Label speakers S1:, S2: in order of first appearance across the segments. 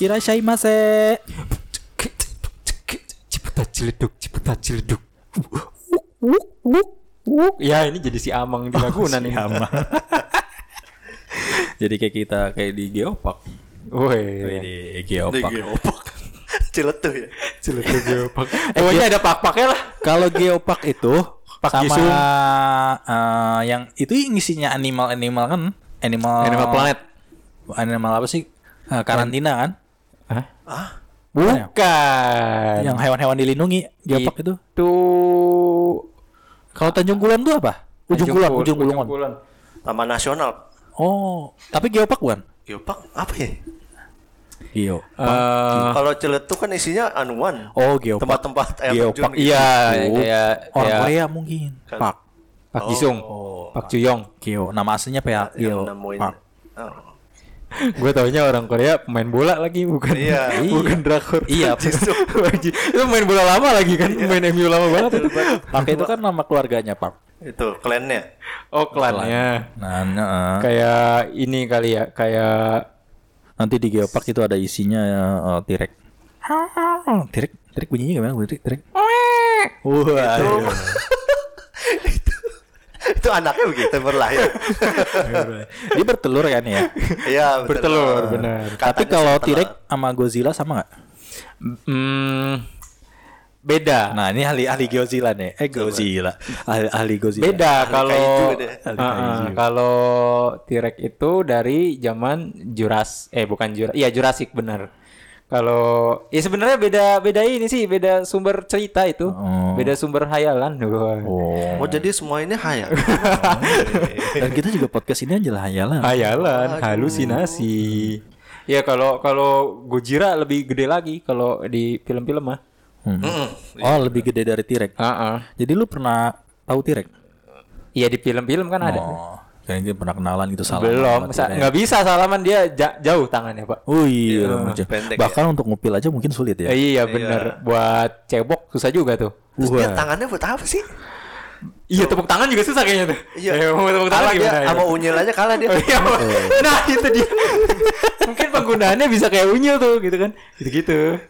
S1: いらっしゃいませ。
S2: Cipta ciledug, cipta ciledug. Ya ini jadi si Amang di Ragunan
S1: Si
S2: nih.
S1: Hama. Jadi kayak kita kayak di Geopark.
S2: Woi,
S1: Di Geopark.
S2: Iya,
S3: Geopak. Ciletuh ya.
S2: ciledug geopak. Eh, Pokoknya ada pak-paknya lah.
S1: Kalau Geopark itu
S2: Park
S1: sama
S2: Jisung.
S1: eh, yang itu ngisinya animal-animal kan? Animal
S2: Animal Planet.
S1: Animal apa sih? Eh, karantina kan?
S2: Hah?
S3: Ah,
S2: Bukan.
S1: Yang hewan-hewan dilindungi Geopark itu.
S2: itu
S1: Kalau Tanjung Kulon tuh apa? Ujung Kulon, Ujung Kulon.
S3: Taman Nasional.
S1: Oh, tapi Geopark bukan?
S3: Geopak apa ya?
S1: Geo.
S2: Eh,
S3: Kalau Ciletuh kan isinya anuan.
S1: oh, Geopark.
S3: Tempat-tempat air
S1: Geopark.
S3: terjun gitu.
S2: Iya,
S1: Gitu.
S2: kayak
S1: orang
S2: kayak
S1: Korea mungkin.
S3: Kan.
S1: Park. Oh.
S2: Pak Jisung, Pak Juyong.
S1: Geo. Nama aslinya PA
S3: yang
S2: Iya,
S1: Geo.
S3: nemuin.
S1: Park.
S3: Oh.
S2: Gue taunya orang Korea pemain bola lagi bukan
S3: Iya.
S2: bukan drakor.
S1: Iya.
S3: Jisung.
S2: Lagi. itu main bola lama lagi kan, main MU lama banget itu.
S1: Park itu kan nama keluarganya Park.
S3: Itu klannya.
S2: Oh, klannya.
S1: Nah, nah,
S2: Kayak ini kali ya, kayak
S1: nanti di Geopark itu ada isinya uh, T-Rex. T-Rex, T-Rex bunyinya gimana? Bunyi T-Rex, T-Rex. Wah.
S3: Itu anaknya begitu berlahir.
S1: Dia bertelur kan ya.
S3: Iya, betul.
S2: Bertelur, benar.
S1: Tapi
S3: Katanya
S1: kalau
S3: sih
S1: T-Rex sama Godzilla sama nggak?
S2: Hmm, beda.
S1: Nah, ini ahli ahli Godzilla nih. Eh Godzilla. Ahli ahli Godzilla.
S2: beda kalau
S3: kaiju deh.
S1: Ahli
S2: Ah, ah,
S1: kaiju.
S2: kalau T-Rex itu dari zaman Juras eh bukan Juras iya Jurassic benar. Kalau ya sebenarnya beda beda ini sih beda sumber cerita itu.
S1: Oh.
S2: Beta Beda sumber hayalan Wah.
S1: Oh.
S3: Oh, jadi semua ini hayal.
S1: Dan kita juga podcast ini aja lah hayalan.
S2: Hayalan, halusinasi. Ya kalau kalau Gojira lebih gede lagi kalau di film-film ah. mah.
S1: Hmm. Oh, lebih gede dari T-Rex.
S2: Heeh.
S1: Jadi lu pernah tahu T-Rex?
S2: Iya di film-film kan ada.
S1: Oh, kayaknya pernah kenalan gitu salah. ya.
S2: Belum, sa- nggak bisa salaman dia ja- jauh tangannya, Pak.
S1: Oh iya,
S3: Iya,
S1: lucu.
S3: pendek
S1: bahkan untuk ngupil aja mungkin sulit ya.
S2: ya. Eh, iya bener Buat cebok susah juga tuh.
S3: Terus dia
S1: Wah.
S3: tangannya buat apa sih?
S2: Iya tepuk tangan juga susah kayaknya tuh. Eh,
S3: Iya.
S2: mau tepuk tangan
S3: Kalah dia
S2: gimana? ya?
S3: sama unyil aja kalah dia.
S2: Oh, iya, mau- nah itu dia. Mungkin penggunaannya bisa kayak unyil tuh gitu kan. Gitu-gitu.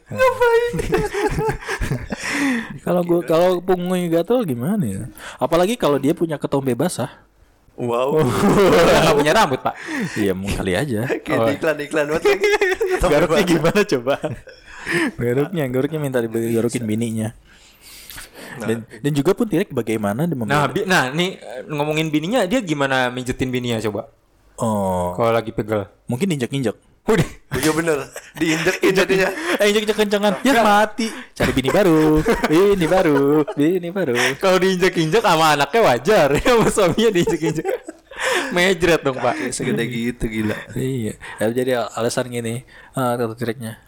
S1: Kalau gua kalau punggungnya gatel gimana ya? Apalagi kalau dia punya ketombe basah.
S3: Wow.
S2: Oh. Udah nggak punya rambut, Pak.
S1: Iya, mau kali aja.
S3: Kayak di iklan-iklan banget. lagi.
S1: Garuknya gimana coba? Garuknya, garuknya minta dibeli garukin bininya. Dan, dan juga pun Tirek bagaimana dia
S2: Nah,
S1: membedakan-
S2: bi- nah nih eh, ngomongin bininya dia gimana mijetin bininya coba?
S1: oh,
S2: Kalau lagi pegel.
S1: mungkin injek-injek.
S2: Udah.
S3: Iya bener. Diinjekin jadinya.
S1: Eh, injek-injek kencangan. Ya mati. Cari bini baru. Bini baru. Bini baru.
S2: Kalau diinjek-injek sama anaknya wajar, sama suaminya diinjek-injek. Iya, Mejret dong, Pak.
S3: Kayak segede gitu gila.
S1: Iya. Ya, jadi al- alasan gini, eh kata Tirek-nya.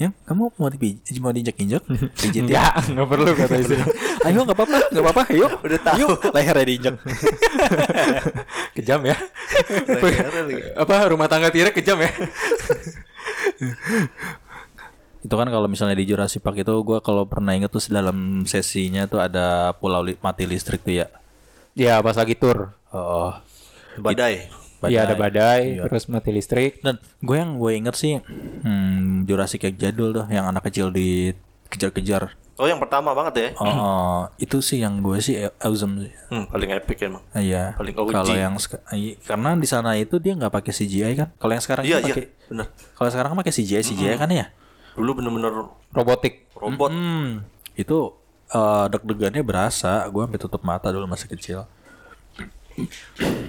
S1: Ya, kamu mau di mau diinjek-injek? Pijit ya.
S2: Enggak, enggak perlu kata istri.
S1: Ayo nggak apa-apa, nggak apa-apa, yuk.
S3: Udah tahu.
S1: Yuk, lehernya diinjek.
S2: kejam ya
S3: Lehernya lagi.
S2: apa rumah tangga Tirek kejam ya
S1: itu kan kalau misalnya di Jurassic Park itu gua kalau pernah inget tuh dalam sesinya tuh ada pulau li- mati listrik tuh ya.
S2: ya pas lagi tur
S1: Oh.
S3: Badai.
S2: Iya ada badai terus mati listrik
S1: Dan gue yang gue inget sih hmm, Jurassic yang jadul tuh yang anak kecil dikejar-kejar.
S3: Oh yang pertama banget ya.
S1: Oh, oh, itu sih yang gue sih e- awesome sih.
S3: Hmm, paling epic emang.
S1: Ah, Iya.
S3: Paling OG.
S1: Kalau yang seka- i- karena di sana itu dia nggak pakai CGI kan. Kalau yang sekarang
S3: Iya
S1: kan
S3: iya Hmm.
S1: pakai
S3: bener.
S1: kalau sekarang kan pakai CGI CGI kan ya.
S3: Dulu bener-bener
S2: robotik
S3: robot.
S1: Hmm, itu eh, deg-degannya berasa. Gue sampai tutup mata dulu masa kecil.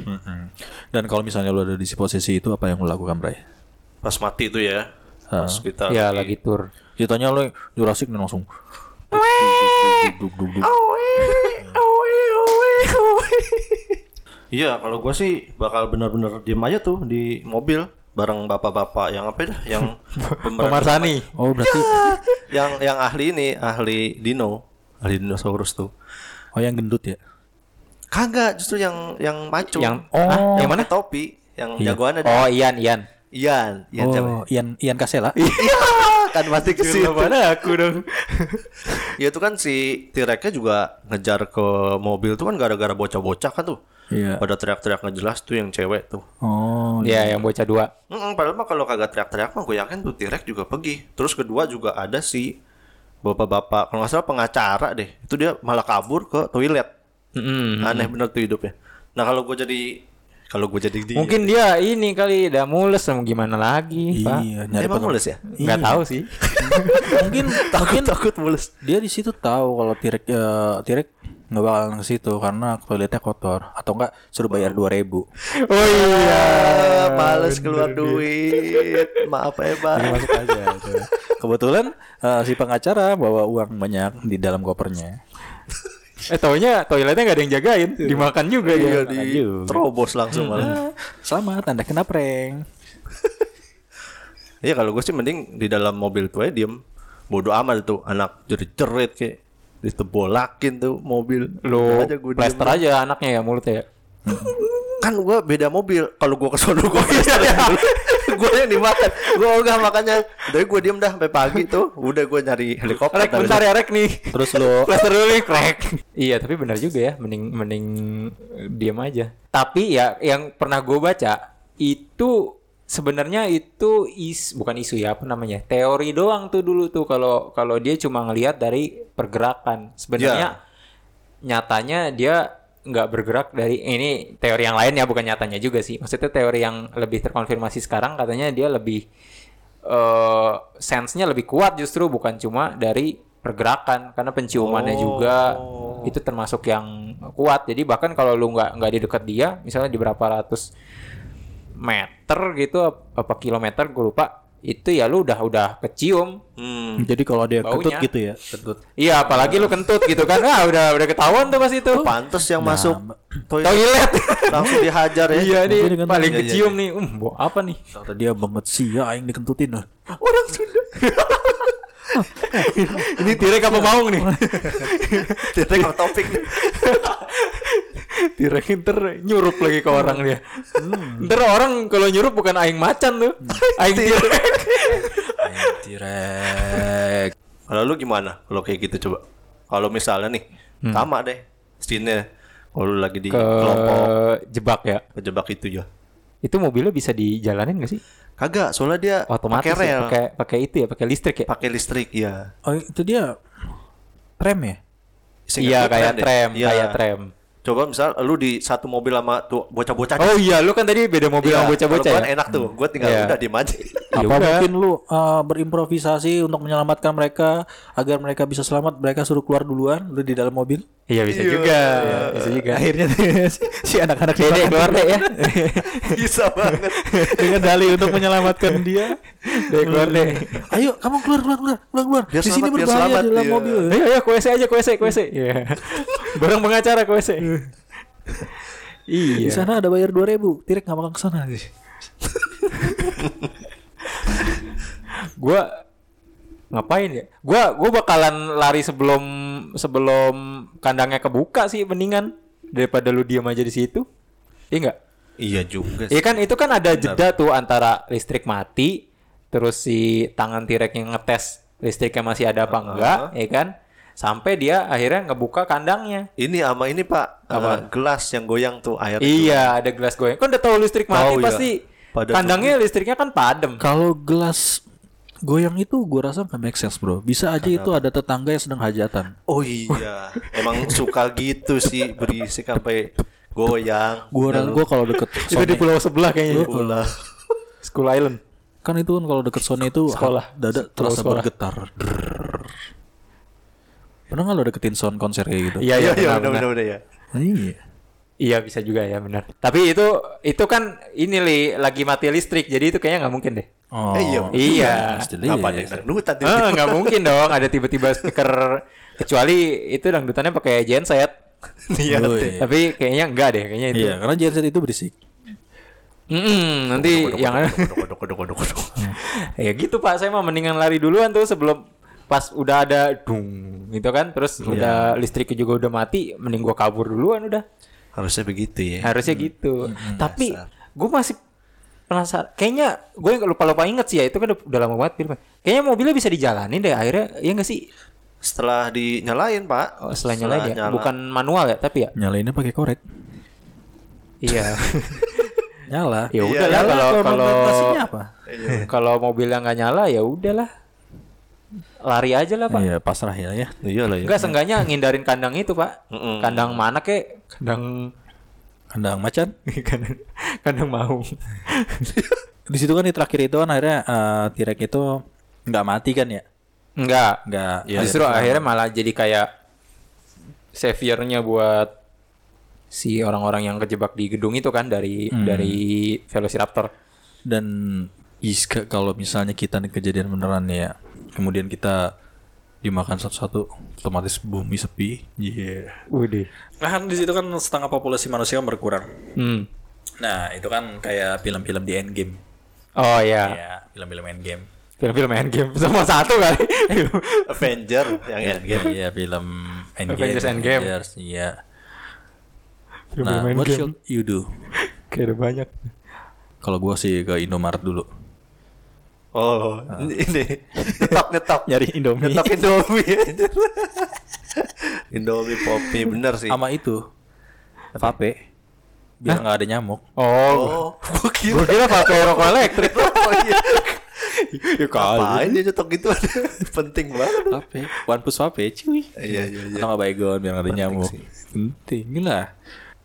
S1: Mm-mm. Dan kalau misalnya lu ada di posisi itu apa yang lu lakukan, Bray?
S3: Pas mati itu ya. Pas kita.
S2: ya lagi tur
S1: Ditanya lu Jurassic dan langsung duk, duk, duk, duk.
S3: Iya, kalau gua sih bakal bener-bener diem aja tuh di mobil bareng bapak-bapak yang apa ya? Yang pemeran-
S2: Pemarsani
S1: Oh, berarti
S3: yang yang ahli ini, ahli dino, ahli dinosaurus tuh.
S1: oh yang gendut ya.
S3: Kagak, justru yang yang maco.
S2: yang
S1: Oh.
S2: Hah? Ah, yang
S3: yang
S2: mana
S3: mana Iya. topi, yang jagoannya dia.
S2: oh Ian Ian
S3: Ian, Ian siapa? ya?
S1: oh, Ian Ian Kasela.
S3: Iya,
S2: Ah,
S3: kan mati ke situ.
S2: mana aku dong
S3: Ya itu kan si T-Rex-nya juga ngejar ke mobil tuh kan gara-gara bocah-bocah kan tuh.
S1: Iya.
S3: pada teriak-teriak nggak jelas tuh yang cewek tuh
S1: Oh, iya.
S2: Ya, yang bocah dua.
S3: Mm-mm, padahal mah kalau kagak teriak-teriak mah gue yakin tuh T-Rex juga pergi. Terus kedua juga ada si bapak-bapak kalau nggak salah pengacara deh. Itu dia malah kabur ke toilet.
S2: Mm-mm.
S3: Aneh bener tuh hidupnya. Nah kalau gue jadi kalau gue jadi dia,
S2: Mungkin dia ini kali udah mules sama gimana lagi, Pak.
S1: Iya,
S3: dia
S1: nyari
S3: emang
S1: pengem-
S3: mules ya?
S2: Nggak tahu sih.
S1: Mungkin mungkin
S3: Takut mules.
S1: dia di situ tahu kalau Tirek eh, Tirek nggak bakalan ke situ karena toiletnya kotor atau enggak suruh bayar 2000.
S2: Oh iya.
S3: Ah, males keluar duit. Maaf ya
S1: Jadi
S3: bang.
S1: masuk aja. itu. Kebetulan eh, si pengacara bawa uang banyak di dalam kopernya.
S2: Eh taunya toiletnya nggak ada yang jagain, dimakan juga ya.
S3: Iya di terobos langsung malah.
S1: Selamat, Anda kena prank.
S3: Iya kalau gue sih mending di dalam mobil tuh aja diem. Bodoh amat tuh anak jerit-jerit kayak ditebolakin tuh mobil.
S2: Lu
S3: Aja gua diem.
S2: plaster aja anaknya ya mulutnya ya.
S3: kan gue beda mobil kalau gue kesono gue
S2: Iya.
S3: gue yang dimakan gue enggak makanya dari gue diem dah sampai pagi tuh udah gue nyari helikopter
S2: Rek bentar ya Rek nih.
S1: Terus lo
S2: Plaster dulu nih, Rek. Iya, tapi benar juga ya, mending mending diam aja. Tapi ya yang pernah gue baca itu sebenarnya itu is bukan isu ya apa namanya teori doang tuh dulu tuh kalau kalau dia cuma ngelihat dari pergerakan sebenarnya nyatanya dia nggak bergerak dari ini teori yang lain ya bukan nyatanya juga sih maksudnya teori yang lebih terkonfirmasi sekarang katanya dia lebih eh sense-nya lebih kuat justru bukan cuma dari pergerakan karena penciumannya juga itu termasuk yang kuat jadi bahkan kalau lu nggak nggak di dekat dia misalnya di berapa ratus meter gitu ap- apa kilometer gue lupa itu ya lu udah udah kecium
S3: hmm.
S1: jadi kalau dia
S2: Baunya.
S1: kentut gitu ya.
S2: iya apalagi lu kentut gitu kan ah udah udah ketahuan tuh pas itu
S3: pantes yang masuk toilet
S2: toilet
S3: langsung dihajar ya
S2: Nah, Iya nih
S1: Mungkin dengan-
S2: paling
S3: Iya, iya,
S2: kecium nih. Um, bo- apa nih?
S1: Kata dia banget sih ya aing dikentutin lah.
S2: Orang Sunda. Ini Tirek apa Maung nih?
S3: Direkt ke topik
S2: Tirek ntar nyurup lagi ke orang dia. Ntar orang kalau nyurup bukan aing macan tuh. Aing Hmm. Tirek.
S1: Tirek.
S3: kalau lu gimana kalau kayak gitu coba kalau misalnya nih sama deh scene kalau lu lagi di
S2: Hmm. Ke
S3: kelompok
S2: jebak ya.
S3: kejebak itu ya
S2: Itu mobilnya bisa dijalanin gak sih?
S3: kagak soalnya dia
S2: Otomatis
S3: pakai rel
S2: ya, pakai pakai itu ya, pakai listrik ya.
S3: pakai listrik ya
S1: Oh, itu dia tram ya?
S2: Iya kayak tram, kayak tram.
S3: coba misal lu di satu mobil sama tuh bocah-bocah
S2: Oh iya, lu kan tadi beda mobil
S3: Iya,
S2: sama bocah-bocah
S3: kalau
S2: ya.
S3: gua enak tuh, gue tinggal
S2: Iya.
S3: udah diem aja.
S2: Ya
S1: Apa
S2: udah.
S1: mungkin lu uh, berimprovisasi untuk menyelamatkan mereka agar mereka bisa selamat? Mereka suruh keluar duluan, lu di dalam mobil.
S2: Iya bisa juga, Iya, bisa juga.
S1: Akhirnya si- si anak-anak
S2: Dede
S1: dimakan
S2: keluar deh ya.
S3: Bisa banget.
S1: dengan dalih untuk menyelamatkan dia.
S2: Dede keluar deh.
S1: Ayo, kamu keluar keluar keluar keluar keluar.
S3: Biar
S1: di sini
S3: selamat, biar
S1: berbahaya
S3: selamat,
S1: di dalam
S3: iya.
S1: mobil.
S2: Ayo ayo ke WC aja ke WC ke WC. Iya. Bareng pengacara ke WC.
S1: Di
S2: iya.
S1: sana ada bayar 2000. Tirek nggak bakal ke sana sih.
S2: Gua ngapain ya? Gua gua bakalan lari sebelum sebelum kandangnya kebuka sih mendingan daripada lu diam aja di situ. Iya enggak?
S3: iya juga
S2: Iya kan itu kan ada jeda tuh antara listrik mati terus si tangan T-Rex yang ngetes listriknya masih ada apa enggak, ya kan? Sampai dia akhirnya ngebuka kandangnya.
S3: Ini sama ini pak, eh, gelas yang goyang tuh air.
S2: Iya, ada gelas goyang. Kan udah tahu listrik mati
S3: Tahu, iya.
S2: pasti
S3: Padam
S2: kandangnya listriknya kan padam.
S1: Kalau gelas goyang itu gua rasa nggak make sense bro. Bisa aja itu ada tetangga yang sedang hajatan.
S3: Oh iya, emang suka gitu sih berisik sampai goyang.
S1: Gua ra- gua kalau deket
S2: Itu
S1: Sony,
S2: di pulau sebelah kayaknya.
S3: Bola.
S2: School Island.
S1: kan itu kan kalau deket Sony itu
S2: Sekolah.
S1: dada
S2: Pulau
S1: terasa
S2: sekolah.
S1: bergetar. Drrrr. Pernah nggak lo deketin sound konser kayak gitu?
S2: Iya, iya,
S3: Iya iya
S2: benar,
S3: udah
S2: benar.
S3: udah udah ya.
S1: Iya.
S2: Iya bisa juga ya benar. Tapi itu itu kan ini li, lagi mati listrik, jadi itu kayaknya nggak mungkin deh.
S1: Oh,
S3: Eh, iya.
S2: iya.
S1: pasti iya,
S3: Apa
S1: iya.
S3: nih dangdutan tuh?
S2: Ah, Nggak mungkin dong ada tiba-tiba speaker kecuali itu dangdutannya pakai genset.
S3: Iya.
S1: Dulu,
S3: teh.
S1: iya.
S2: Tapi kayaknya enggak deh, kayaknya itu.
S1: Iya, karena genset itu berisik.
S2: Mm-mm, nanti yang
S3: Kodok, kodok, kodok, kodok, kodok.
S2: ya gitu pak saya mah mendingan lari duluan tuh sebelum pas udah ada dung gitu kan terus udah listriknya juga udah mati mending gua kabur duluan udah
S3: Harusnya begitu ya.
S2: harusnya gitu tapi gua masih penasaran kayaknya gue lupa lupa inget sih ya itu kan udah, udah lama banget filmnya kayaknya mobilnya bisa dijalanin deh akhirnya ya nggak sih
S3: Setelah dinyalain pak.
S1: Oh,
S2: oh, selain nyalain ya bukan manual ya tapi ya
S1: Nyalainnya pakai korek.
S2: Iya.
S1: Nyala.
S2: ya udah
S3: Iya,
S2: lah kalau kalau
S1: nominasinya apa?
S2: kalau mobilnya nggak nyala ya udahlah. Lari aja lah, Pak.
S1: Iya, pasrah ya ya.
S3: Iya lah ya.
S2: Enggak, seenggaknya ngindarin kandang itu, Pak.
S3: Mm-mm.
S2: Kandang mana kek? Kandang
S1: Kandang macan.
S2: kandang, kandang maung.
S1: Di situ kan di terakhir itu kan akhirnya eh, T-Rex itu nggak mati kan ya?
S2: Enggak.
S1: Nggak.
S2: Iya, Justru akhirnya malah jadi kayak saviornya buat si orang-orang yang kejebak di gedung itu kan dari dari Velociraptor.
S1: Dan Iska kalau misalnya kita nih kejadian beneran ya, kemudian kita dimakan satu-satu, otomatis bumi sepi. Iya.
S2: Waduh.
S1: Nah, di situ kan setengah populasi manusia kan berkurang.
S2: Hmm.
S1: Nah, itu kan kayak film-film di Endgame.
S2: Oh ya,
S1: Ya, film-film Endgame.
S2: film-film Endgame sama satu kali.
S3: Avenger yang Endgame.
S1: Iya, film Endgame.
S2: Avengers Endgame.
S1: Avengers, iya.
S2: film-film
S1: Nah, what
S2: Endgame.
S1: should you do?
S2: Kayak ada banyak.
S1: Kalau gua sih ke Indomaret dulu.
S3: Oh, ini nyetok nyetok
S1: Ah. Nyari Indomie.
S3: nyetok Indomie. Indomie Poppy bener sih.
S1: Sama itu. Vape. Biar nggak ada nyamuk.
S2: Oh,
S3: Oh, gua
S2: gue
S3: kira.
S2: kira pakai rokok elektrik.
S3: Oh iya.
S2: ya
S3: Ngapain dia nyetok gitu? Penting banget.
S1: Vape. One push vape, cuy.
S3: Iya iya iya.
S1: Atau nggak baygon biar nggak ada nyamuk. Penting lah.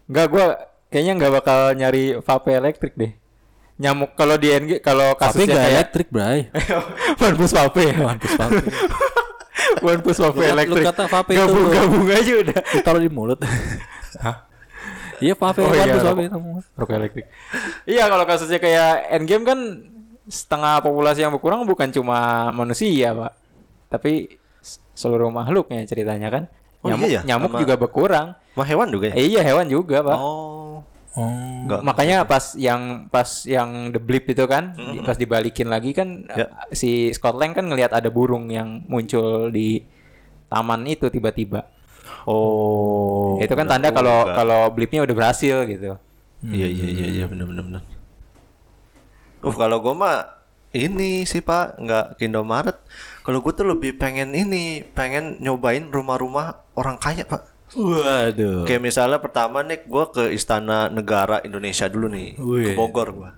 S2: Enggak gue kayaknya nggak bakal nyari vape elektrik deh. Nyamuk kalau di NG kalau
S1: Vape
S2: kasusnya
S1: nggak
S2: kayak
S1: elektrik, Bray.
S2: One Piece vape ya. One Piece vape. One Piece vape
S1: Lu kat- lu
S2: elektrik.
S1: kata vape itu
S2: gabung,
S1: lu.
S2: gabung aja udah.
S1: Ditaruh di mulut.
S2: Hah?
S1: Iya, vape.
S2: Oh,
S1: one
S2: iya,
S1: push vape.
S2: rokok. Rokok elektrik. iya kalau kasusnya kayak Endgame kan setengah populasi yang berkurang bukan cuma manusia pak, tapi s- seluruh makhluknya ceritanya kan.
S3: Oh,
S2: nyamuk
S3: iya ya?
S2: nyamuk
S3: Sama-
S2: juga berkurang.
S3: Mah hewan juga ya?
S2: Eh, iya hewan juga pak.
S3: Oh.
S1: Oh.
S3: Enggak.
S2: Makanya pas yang pas yang the blip itu kan di- pas dibalikin lagi kan
S3: Ya.
S2: eh, si Scott Lang kan ngelihat ada burung yang muncul di taman itu tiba-tiba.
S3: Oh.
S2: itu kan tanda kalau kalau blipnya udah berhasil gitu.
S3: Iya iya iya iya benar benar benar. Uh kalau gue mah ini sih pak nggak ke Indomaret. Kalau gue tuh lebih pengen ini pengen nyobain rumah-rumah orang kaya pak.
S1: Waduh.
S3: Kayak misalnya pertama nih gue ke Istana Negara Indonesia dulu nih ke
S1: Wih.
S3: Bogor gue.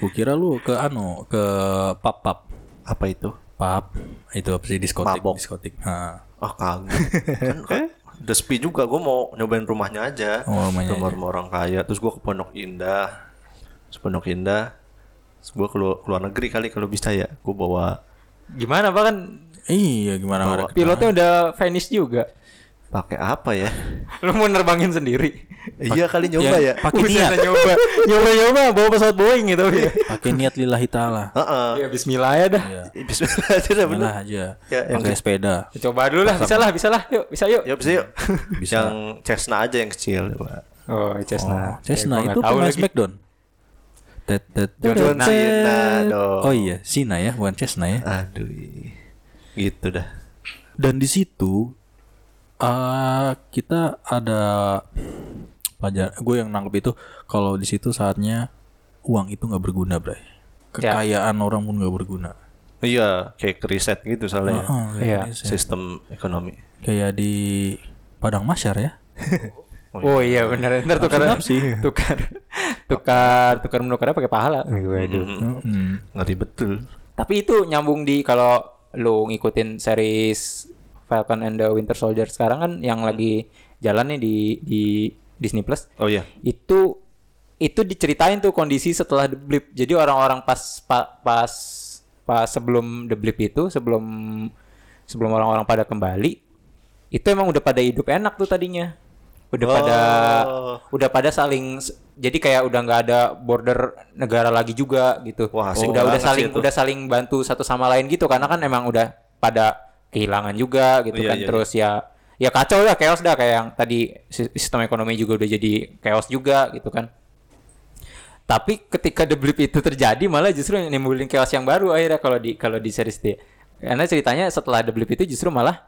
S1: Gue kira lu ke anu ke pub pub
S3: Apa itu?
S1: pub itu apa sih diskotik
S3: Mabok.
S1: diskotik. Ha.
S3: Ah kagak. kan, kan udah sepi juga gue mau nyobain rumahnya aja.
S1: Eh? Oh, rumahnya aja.
S3: rumah-rumah orang kaya. Terus gue ke Pondok Indah. Terus Pondok Indah. Terus gue keluar, keluar negeri kali kalau bisa ya. Gue bawa
S2: Gimana pak kan
S1: Iya gimana Mar?
S2: pilotnya udah vanish juga.
S3: pakai apa ya?
S2: Lu mau nerbangin sendiri.
S3: Iya kali nyoba
S1: Yang
S3: ya.
S1: Pakai
S2: Buset,
S1: niat,
S2: nyoba. nyoba nyoba bawa pesawat Boeing gitu ya.
S1: pakai niat lillahi taala.
S3: Heeh.
S2: ya bismillah ya dah.
S3: Bismillah aja dah bener.
S1: Benar aja.
S3: Ya, yang
S1: pakai sepeda.
S2: Coba dulu lah, bisa lah, bisa lah. Yuk, bisa yuk.
S3: Yuk, bisa yuk.
S1: Bisa.
S3: Ya, Yang Cessna aja yang kecil. Pak.
S2: Oh, Cessna.
S1: Oh, Cessna
S2: Ya, gua nggak
S1: itu
S2: tahu
S1: pemain
S2: lagi.
S1: Smackdown. Tet, tet,
S2: John
S1: tet,
S3: Cena
S1: tet.
S3: dong.
S1: Oh iya, Sina ya, bukan Cessna ya.
S3: Aduh. Gitu dah.
S1: Dan di situ eh kita ada pelajar. Gue yang nangkep itu kalau di situ saatnya uang itu nggak berguna, Bray.
S2: Ya.
S1: Kekayaan orang pun nggak berguna.
S3: Iya, kayak ke riset gitu soalnya.
S1: Oh,
S2: Iya.
S3: Sistem ekonomi.
S1: kayak di Padang Masyar ya.
S2: Oh iya benar. Ntar tukar
S1: sih.
S2: tukar tukar tukar menukarnya pakai pahala. Waduh.
S1: Hmm.
S3: Ngeri betul.
S2: Tapi itu nyambung di kalau lu ngikutin series Falcon and the Winter Soldier sekarang kan yang lagi jalan nih di di Disney Plus.
S3: Oh iya.
S2: Itu itu diceritain tuh kondisi setelah The Blip. Jadi orang-orang pas pa- pas pas sebelum The Blip itu sebelum sebelum orang-orang pada kembali itu emang udah pada hidup enak tuh tadinya. Udah pada
S3: Oh.
S2: udah pada saling jadi kayak udah nggak ada border negara lagi juga gitu.
S3: Wah, asik
S2: udah udah
S3: banget sih
S2: saling
S3: itu.
S2: udah saling bantu satu sama lain gitu karena kan emang udah pada kehilangan juga gitu
S3: Iya,
S2: kan
S3: iya,
S2: terus ya ya kacau lah chaos dah kayak yang tadi si- sistem ekonomi juga udah jadi chaos juga gitu kan. Tapi ketika The Blip itu terjadi malah justru yang nimbulin chaos yang baru akhirnya kalau di kalau di series dia. Karena ceritanya setelah The Blip itu justru malah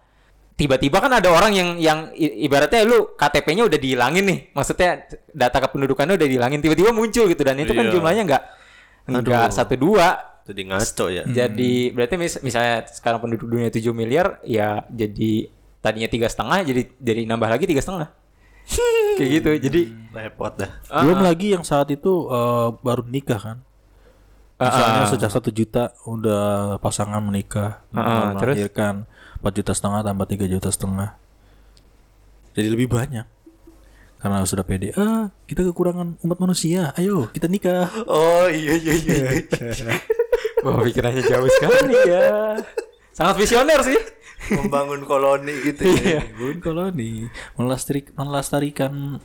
S2: tiba-tiba kan ada orang yang yang i- ibaratnya lu KTP-nya udah dihilangin nih. Maksudnya data kependudukannya udah dihilangin tiba-tiba muncul gitu dan itu kan
S3: Iya.
S2: jumlahnya nggak nggak satu dua
S3: Jadi ngaco ya.
S1: Hmm.
S2: jadi berarti mis- misalnya sekarang penduduk dunia 7 miliar ya jadi tadinya tiga setengah jadi jadi nambah lagi tiga setengah. kayak gitu jadi
S3: repot dah
S2: Ah.
S1: Belum lagi yang saat itu eh, baru nikah kan. Misalnya sejak satu juta udah pasangan menikah,
S2: Ah, ah, terus?
S1: melahirkan empat juta setengah tambah tiga juta setengah. Jadi lebih banyak karena sudah pede. Ah, kita kekurangan umat manusia. Ayo kita nikah.
S3: oh iya iya iya
S2: wah pikirannya jauh sekali ya sangat visioner sih
S3: membangun koloni gitu
S2: Iya.
S3: ya
S1: Bangun koloni, melastrik, melestarikan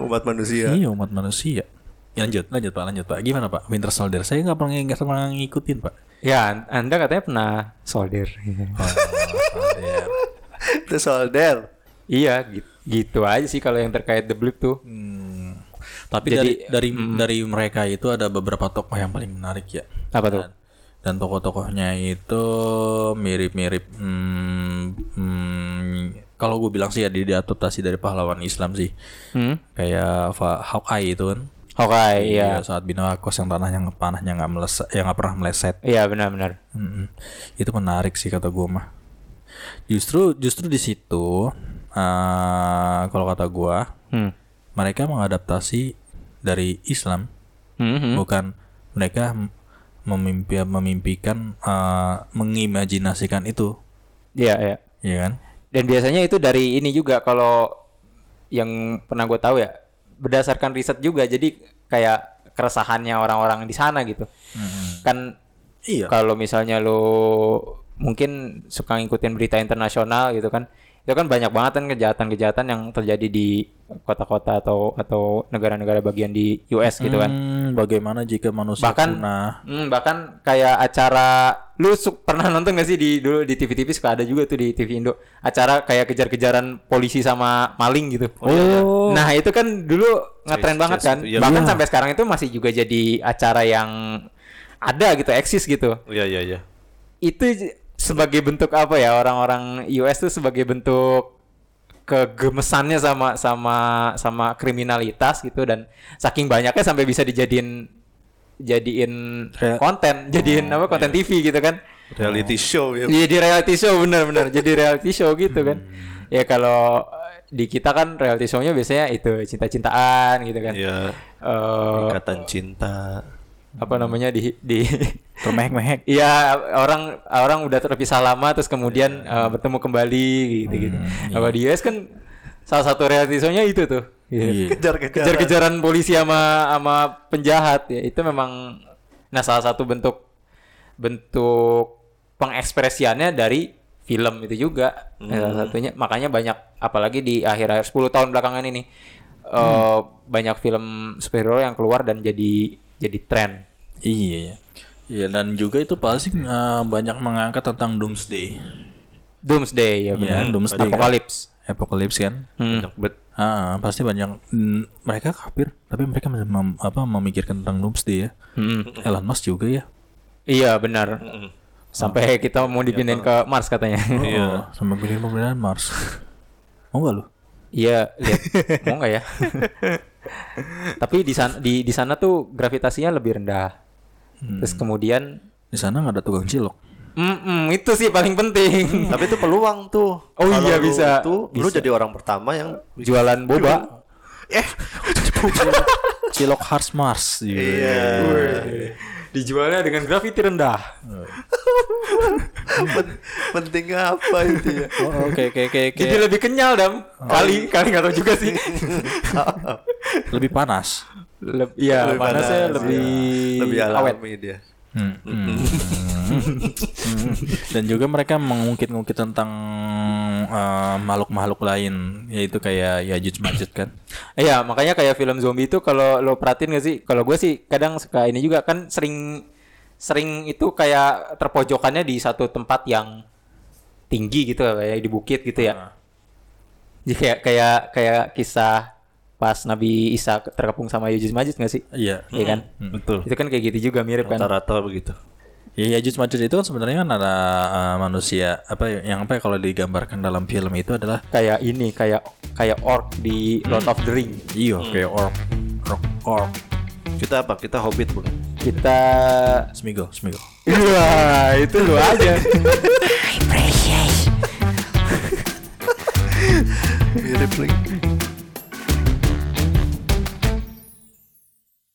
S3: umat manusia
S1: iya umat manusia. Ya, lanjut, lanjut pak, lanjut pak. Gimana pak? Winter Soldier. Saya nggak pernah nggak pernah ngikutin pak.
S2: ya an- anda katanya pernah solder
S3: itu solder
S2: iya gi- gitu aja sih kalau yang terkait the blip tuh
S1: Tapi dari dari dari mereka itu ada beberapa tokoh yang paling menarik ya.
S2: apa tuh
S1: Dan tokoh-tokohnya itu mirip-mirip. Hmm, hmm, kalau gue bilang sih ya di- diadaptasi dari pahlawan Islam sih.
S2: hmm?
S1: Kayak Fa- Hawkeye itu kan.
S2: Hawkeye iya
S1: Dia Saat bina kos yang tanahnya nggak- panahnya nggak meleset, yang nggak pernah meleset.
S2: iya benar-benar
S1: Mm-mm. Itu menarik sih kata gue mah. Justru justru di situ eh, kalau kata gue
S2: hmm.
S1: mereka mengadaptasi dari Islam
S2: Hmm, hmm.
S1: bukan mereka m- memimpi memimpikan eh, mengimajinasikan itu
S2: iya iya
S1: ya kan
S2: Dan biasanya itu dari ini juga kalau yang pernah gue tahu ya berdasarkan riset juga jadi kayak keresahannya orang-orang di sana gitu. Kan
S1: iya
S2: kalau misalnya lo mungkin suka ngikutin berita internasional gitu kan itu kan banyak banget kan kejahatan-kejahatan yang terjadi di kota-kota atau atau negara-negara bagian di US gitu kan.
S1: Hmm, bagaimana jika manusia
S2: Bahkan-
S1: punah
S2: Hmm, bahkan kayak acara lu su- pernah nonton gak sih di dulu di TV-TV suka ada juga tuh di TV Indo acara kayak kejar-kejaran polisi sama maling gitu.
S1: oh
S2: Nah, itu kan dulu ngetren
S3: Yes,
S2: banget
S3: yes,
S2: kan.
S3: iya.
S2: Bahkan sampai sekarang itu masih juga jadi acara yang ada gitu, eksis gitu.
S3: iya iya iya
S2: Itu j- sebagai bentuk apa ya orang-orang US tuh sebagai bentuk kegemesannya sama sama sama kriminalitas gitu dan saking banyaknya sampai bisa dijadiin jadiin
S1: Re-
S2: konten, jadiin apa konten TV gitu kan.
S1: Iya.
S3: reality show ya
S2: Iya di reality show bener-bener jadi reality show gitu kan. Ya kalau eh, di kita kan reality show-nya biasanya itu cinta-cintaan gitu kan.
S3: Iya.
S2: Eh,
S3: ikatan cinta
S2: apa namanya di di
S1: termehek-mehek
S2: Iya orang orang udah terpisah lama terus kemudian
S1: Iya.
S2: eh, bertemu kembali gitu gitu.
S1: Hmm,
S2: Apa di US kan salah satu reality show-nya itu tuh. Gitu.
S1: Iya.
S3: kejar-kejar
S2: Kejar-kejaran polisi sama sama penjahat ya itu memang nah salah satu bentuk bentuk pengekspresiannya dari film itu juga Nah, salah
S1: Hmm.
S2: satunya makanya banyak apalagi di akhir-akhir 10 tahun belakangan ini eh,
S1: Hmm.
S2: banyak film superhero yang keluar dan jadi jadi tren
S1: iya ya Iya dan juga itu pasti eh, banyak mengangkat tentang doomsday,
S2: Doomsday
S1: Iya,
S2: ya benar
S1: doomsday, kan?
S2: apokalips
S1: apokalips kan?
S2: Hmm.
S3: Banyak bet
S1: Ah, pasti banyak mm, mereka kafir, tapi mereka mem- mem- apa memikirkan tentang doomsday ya.
S2: Hmm.
S1: Elon Musk juga ya.
S2: iya benar sampai kita mau dipindahin ke Mars katanya
S1: Iya. sama pilihan pemerintahan Mars. Mau nggak lu?
S2: Iya, lihat. Mau nggak ya? Tapi di sana di di sana tuh gravitasinya lebih rendah. Terus kemudian
S1: Di sana nggak ada tukang cilok.
S2: Mm-mm, itu sih paling penting.
S3: tapi itu peluang tuh
S2: Oh
S3: Kalau
S2: iya,
S3: lu
S2: bisa.
S3: itu, lu jadi orang pertama yang
S2: Jualan boba.
S3: eh
S1: Cilok Hars Mars. Iya.
S2: iya,
S3: Iya.
S2: Dijualnya dengan gravity rendah.
S3: pen- penting apa itu ya
S2: Nah,
S1: Oh, oke oke oke oke.
S2: Jadi lebih kenyal, Dam. Kali kali nggak tahu juga sih.
S1: Lebih panas.
S2: Leb- Iya,
S3: Lebih
S2: panasnya
S3: panas,
S2: lebih
S3: iya. lebih
S2: awet.
S3: alami dia
S1: Hmm, hmm. Hmm. Dan juga mereka mengungkit-ungkit tentang eh, makhluk-makhluk lain, yaitu kayak Yajuj Majuj kan.
S2: Iya, makanya kayak film zombie itu kalau lo perhatiin gak sih? Kalau gue sih kadang suka ini juga kan sering sering itu kayak terpojokannya di satu tempat yang tinggi gitu kayak di bukit gitu ya. Jadi kayak kayak kayak kisah pas Nabi Isa terkepung sama Yajuj Majuj gak sih?
S1: Iya.
S2: Iya kan?
S3: betul
S2: Itu kan kayak gitu juga mirip kan.
S3: rata-rata begitu
S1: Ya Yajuj Majuj itu kan sebenarnya kan ada eh, manusia apa ya- yang apa ya kalau digambarkan dalam film itu adalah
S2: Kayak ini kayak kayak orc di Lord of the Ring.
S1: iyo kayak orc, rock orc,
S3: kita apa kita hobbit bukan
S2: Kita
S1: smigol, smigol.
S2: Wah, itu lu aja.
S3: mirip lagi